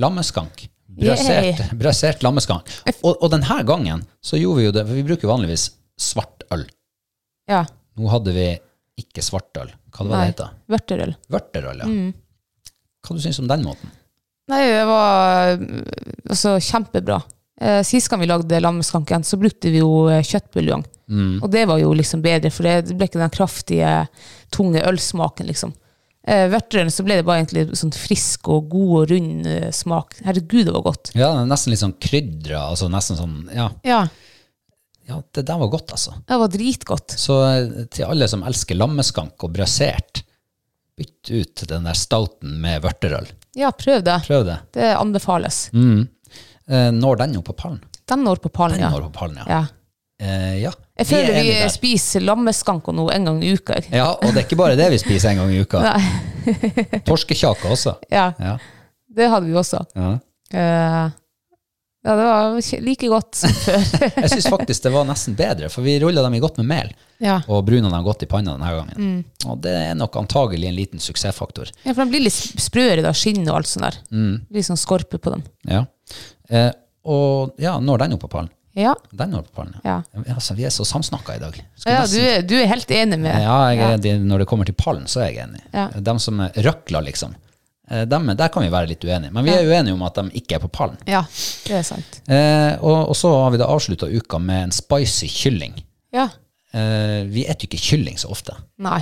lammeskank. Brøsert, brøsert lammeskang. Og, og denne gangen så gjorde vi jo det, for vi bruker jo vanligvis svart øl.
Ja.
Nå hadde vi ikke svart øl. Hva det var det
Nei. Mm.
heter?
Vørterøl.
Vørterøl, ja. Hva du syns om den måten?
Nei, det var øh, altså kjempebra. Eh, Sist gang vi lagde lammeskanken, så brukte vi jo eh, kjøttbuljong.
Mm.
Og det var jo liksom bedre, for det ble ikke den kraftige, tunge ølsmaken, liksom. Eh, Vørterølen så ble det bare egentlig sånn frisk og god og rund eh, smak. Herregud, det var godt.
Ja, den er Nesten litt sånn krydra. Altså nesten sånn, ja,
Ja,
ja, det der var godt, altså.
det var dritgodt.
Så eh, til alle som elsker lammeskank og brøsert, bytt ut den der stouten med vørterøl.
Ja, prøv det.
Prøv det.
Det anbefales.
Mm. Eh, Når den opp på pallen?
Den når på pallen,
Den
ja.
når på pallen, ja.
ja.
Eh, ja.
Jeg
er
føler vi,
enige der.
spiser lammeskank og noe en gang i uka. jeg.
Ja, og det er ikke bare det vi spiser en gang i uka. Torskekjake også.
Ja,
Ja.
det hadde vi også.
Ja.
Eh, ja, det var ikke like godt som før.
Jeg syns faktisk det var nesten bedre, for vi rulla dem i godt med mel
ja.
og bruna dem godt i panna denne gangen.
Mm.
Og det er nok antagelig en liten suksessfaktor.
ja, for de blir litt sprøere, da, skinn og alt sånt der.
Mm.
Litt sånn skorpe på dem.
Ja. Eh, og ja, når den opp på pallen?
Ja,
Den når på pallen, ja.
ja.
Altså, vi er så samsnakka i dag. Skal
ja du,
nesten-
er, du er helt enig med
ja, jeg er, enig. når det kommer til pallen, så er jeg enig.
Ja.
De som røkler, liksom. eh, Dem, der kan vi være litt uenige. Men vi er uenige om at de ikke er på pallen.
Ja, det er sant.
Eh, og, og så har vi da avslutta uka med en spicy kylling.
Ja.
Eh, vi spiser jo ikke kylling så ofte,
Nei.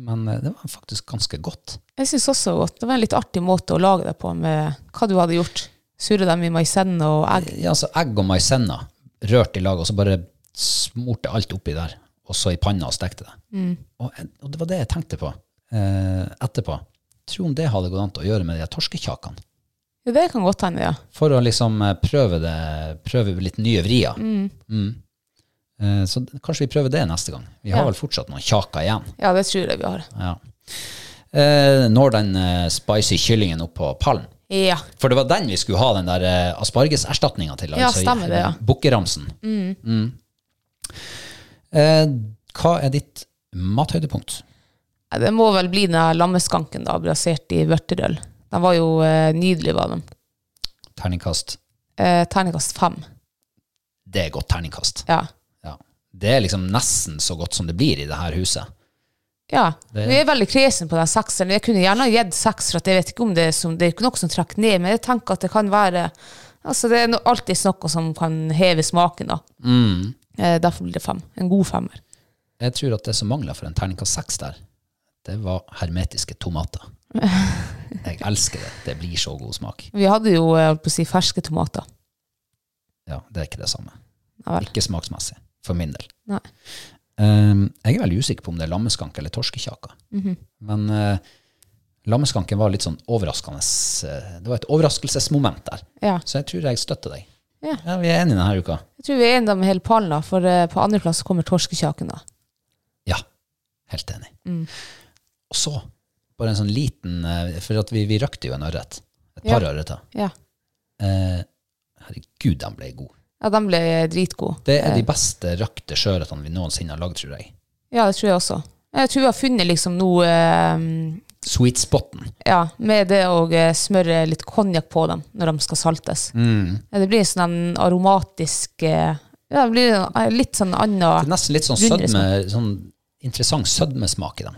men eh, det var faktisk ganske godt.
Jeg syns også det var godt. Det var en litt artig måte å lage det på, med hva du hadde gjort. Surre dem i maisenn og egg.
Ja, altså Egg og maisenna rørt i lag, og så bare smurte alt oppi der, og så i panna og stekte det. Og, eh, og det var det jeg tenkte på eh, etterpå. Tro om det hadde gått an til å gjøre med de her torskekjakene.
Ja, det kan godt hende, ja.
For å liksom eh, prøve, det, prøve litt nye vrier. Mm. Eh, så d- kanskje vi prøver det neste gang. Vi har
Ja.
vel fortsatt noen kjaker igjen.
Ja, det tror jeg vi har.
Ja. Eh, når den eh, spicy kyllingen opp på pallen.
Ja.
For det var den vi skulle ha den der eh, aspargeserstatninga til. altså
Ja, stemmer det, ja.
Bukkeramsen. Mm. Eh, hva er ditt mathøydepunkt?
Ja, Det må vel bli den her lammeskanken, da, brasert i vørterøl. Den var jo eh, nydelig, var den.
Terningkast.
Eh, Terningkast fem.
Det er godt terningkast.
Ja.
Ja. Det er liksom nesten så godt som det blir i det her huset.
Ja,
Det-
jeg er veldig kresen på den sekseren. Jeg kunne gjerne ha gitt seks, for at jeg vet ikke om det er, som, det er ikke noe som trekker ned, men jeg tenker at det kan være Altså, det er no, alltid noe som kan heve smaken, da. Eh, derfor blir det fem. En god femmer.
Jeg tror at det som mangla for en terningkast seks der, det var hermetiske tomater. Jeg elsker det. Det blir så god smak.
Vi hadde jo, jeg holdt på å si, ferske tomater.
Ja, det er ikke det samme.
Ja vel.
Ikke smaksmessig, for min del.
Nei.
Um, jeg er veldig usikker på om det er lammeskank eller torskekjaka.
Mhm.
Men eh, lammeskanken var litt sånn overraskende. eh, Det var et overraskelsesmoment der.
Ja.
Så jeg tror jeg støtter deg.
Ja.
vi er enige denne uka.
Jeg tror vi er enige om hele pallen, da, for eh, på andreplass kommer torskekjaken, da.
Ja, helt enig.
Mm.
Og så, bare en sånn liten, eh, for at vi, vi røkte jo en ørret. Et par
Ja.
ørreter.
Ja.
Eh, herregud, de ble gode.
ja, den ble eh, dritgod.
Det er de beste røkte sjøørretene vi noensinne har lagd, tror jeg.
Ja, det tror jeg også. Jeg tror vi har funnet liksom noe eh,
Sweet spotten.
Ja, med det å eh, smøre litt konjakk på dem når de skal saltes. Ja, Det blir en sånn en aromatisk eh, Ja, det blir en- eh, litt sånn
Det er
anna
nesten litt sånn
Rundere
sødme, sånn interessant sødmesmak i dem.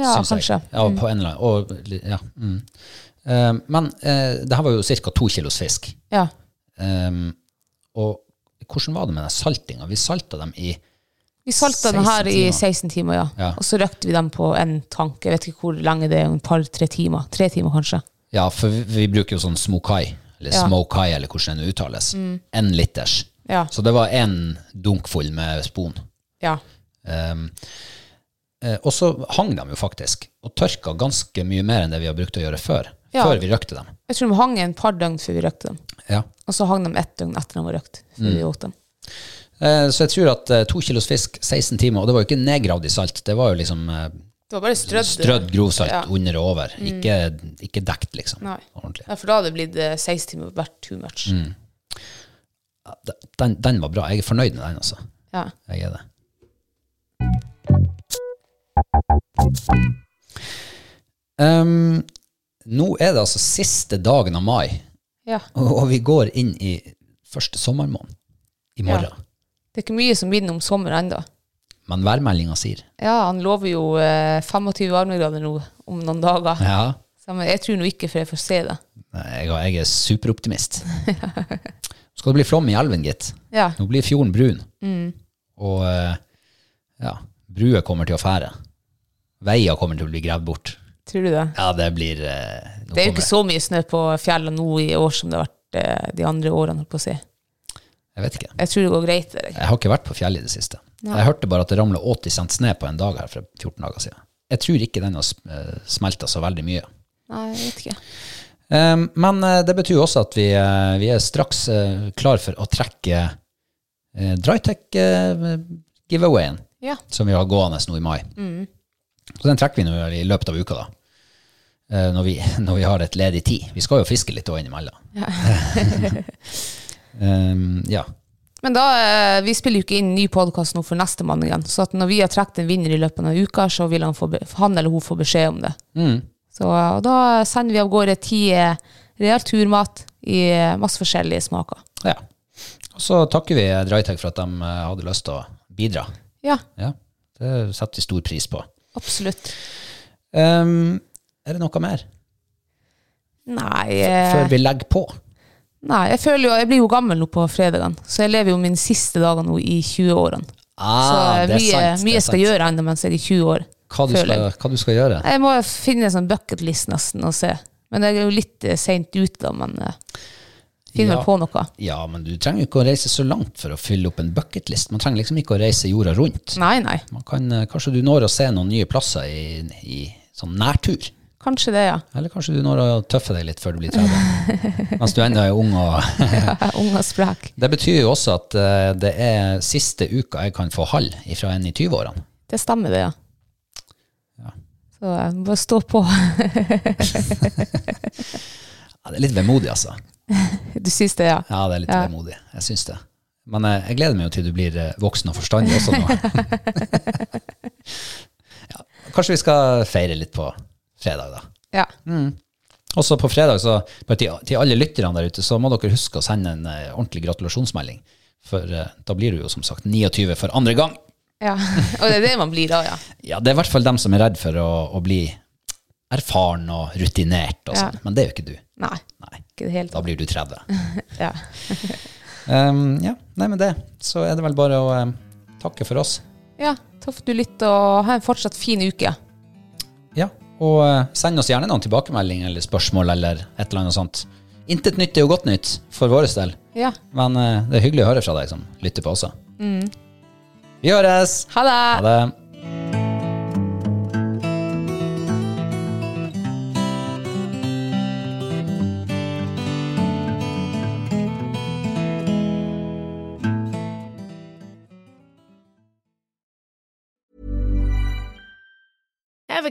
Ja,
syns jeg.
kanskje. Mm.
Ja, på en eller annen, og, li- ja. Mm. Eh, men eh, det her var jo ca. to kilos fisk.
Ja.
Ehm, og hvordan var det med den saltinga? Vi salta dem i
Vi salta den her
16
i
timer.
16 timer, ja.
Ja.
Og så røkte vi dem på en tank. Jeg vet ikke hvor lenge det er, en par-tre timer. Tre timer, kanskje.
Ja, for vi, vi bruker jo sånn smokai, eller
Ja. Mm.
smokai, eller hvordan den uttales. En liters.
Ja.
Så det var én dunk full med spon.
ja.
Ehm, eh, og så hang de jo faktisk, og tørka ganske mye mer enn det vi har brukt å gjøre før.
Ja.
Før vi røkte dem.
Jeg tror de hang en par døgn før vi røkte dem.
Ja.
Og så hang de ett døgn etter de var røkt. Før vi
Mm.
åt dem.
Eh, Så jeg tror at eh, to kilos fisk, 16 timer, og det var jo ikke nedgravd i salt, det var jo liksom eh,
Det var bare strødd.
strødd grovsalt
Ja. Mm.
under og over, ikke, ikke dekt liksom.
Nei.
Ordentlig.
Ja, for da hadde det blitt eh, 16 timer vært too much.
Mm. Den, den var bra, jeg er fornøyd med den altså.
Ja.
Jeg er det. Ehm, nå er det altså siste dagen av mai,
Ja.
Og, og vi går inn i første sommermåned i morgen.
Ja. Det er ikke mye som minner om sommer ennå.
Men værmeldinga sier
Ja, han lover jo eh, 25 varmegrader nå om noen dager.
ja.
Så, men jeg tror nå ikke, for jeg får se det.
Jeg, jeg er superoptimist. Skal det bli flom i elven, gitt.
Ja.
Nå blir fjorden brun.
Mm.
Og eh, ja, bruer kommer til å fære. Veier kommer til å bli gravd bort.
Tror du det?
Ja, det blir eh, nå
Det er jo
kommer
ikke så mye snø på fjellene nå i år som det har vært eh, de andre årene. holdt på å si.
Jeg vet ikke.
Jeg tror det går greit. det der.
Jeg har ikke vært på fjellet i det siste. Jeg hørte bare at det ramla 80 cent snø på en dag her for 14 dager siden. Jeg tror ikke den har smelta så veldig mye.
Nei, jeg vet ikke.
Um, men eh, det betyr jo også at vi, eh, vi er straks eh, klar for å trekke eh, Drytech-giveawayen,
Ja.
som vi har gående nå i mai.
Mm.
Så den trekker vi nå i løpet av uka, da. Eh, når, vi, når vi har et ledig tid. Vi skal jo fiske litt òg innimellom. um, ja.
Men da, eh, vi spiller jo ikke inn ny podkast nå for neste mann igjen. Så at når vi har trukket en vinner i løpet av noen uker, så vil han, få, be- han eller hun få beskjed om det.
Mm.
Så, eh, og da sender vi av gårde ti eh, real turmat i eh, masse forskjellige smaker.
ja. Og så takker vi Drytech for at de eh, hadde lyst til å bidra.
Ja,
Ja. Det setter vi stor pris på.
absolutt.
Um, er det noe mer
Nei,
før
eh,
vi legger på?
nei jeg, føler jo, jeg blir jo gammel nå på fredagen, så jeg lever jo mine siste dager nå i 20-årene. Så
Ah,
eh,
det er
mye,
sant, det
mye
er
jeg skal
sant.
gjøre ennå mens jeg er 20 år.
Hva du,
føler
skal,
jeg.
hva du skal gjøre?
Jeg må finne en sånn bucketlist nesten og se. Men jeg er jo litt eh, sent ute da, men eh, finner
Ja.
vel på noe.
Ja, men du trenger jo ikke å reise så langt for å fylle opp en bucketlist. Man trenger liksom ikke å reise jorda rundt.
Nei, nei.
Man kan, eh, kanskje du når å se noen nye plasser i, i sånn nærtur.
Kanskje det, ja.
Eller kanskje du når å tøffe deg litt før du blir 30. Mens du ennå er ung. Og
Unge og sprek.
det betyr jo også at eh, det er siste uka jeg kan få halv ifra en i 20-årene.
Det stemmer, det, ja. Så eh, bare stå på.
Ja, det er litt vemodig, altså.
Du syns det, ja.
Ja, det er litt vemodig. Jeg syns det. Men eh, jeg gleder meg jo til du blir eh, voksen og forstandig også nå. ja, kanskje vi skal feire litt på fredag, da.
ja.
Også på fredag, så, bare til, til alle lytterne der ute, så må dere huske å sende en eh, ordentlig gratulasjonsmelding. For eh, da blir du jo som sagt 29 for andre gang.
ja. Og det er det man blir da, ja.
Ja, det er i hvert fall dem som er redd for å, å bli erfaren og rutinert og
Ja.
sånn. Men det er jo ikke du.
Nei.
Nei.
Ikke i det hele
Da
tatt.
blir du 30.
Ja.
Um, ja, nei, med det så er det vel bare å eh, takke for oss.
ja. Takk for at du lytter, og ha en fortsatt fin uke.
Ja, og eh, send oss gjerne noen tilbakemelding eller spørsmål eller et eller annet sånt. Intet nytt er jo godt nytt for vår del,
Ja.
men eh, det er hyggelig å høre fra deg som lytter på også. Vi høres!
Ha det!
Ha det!
Ever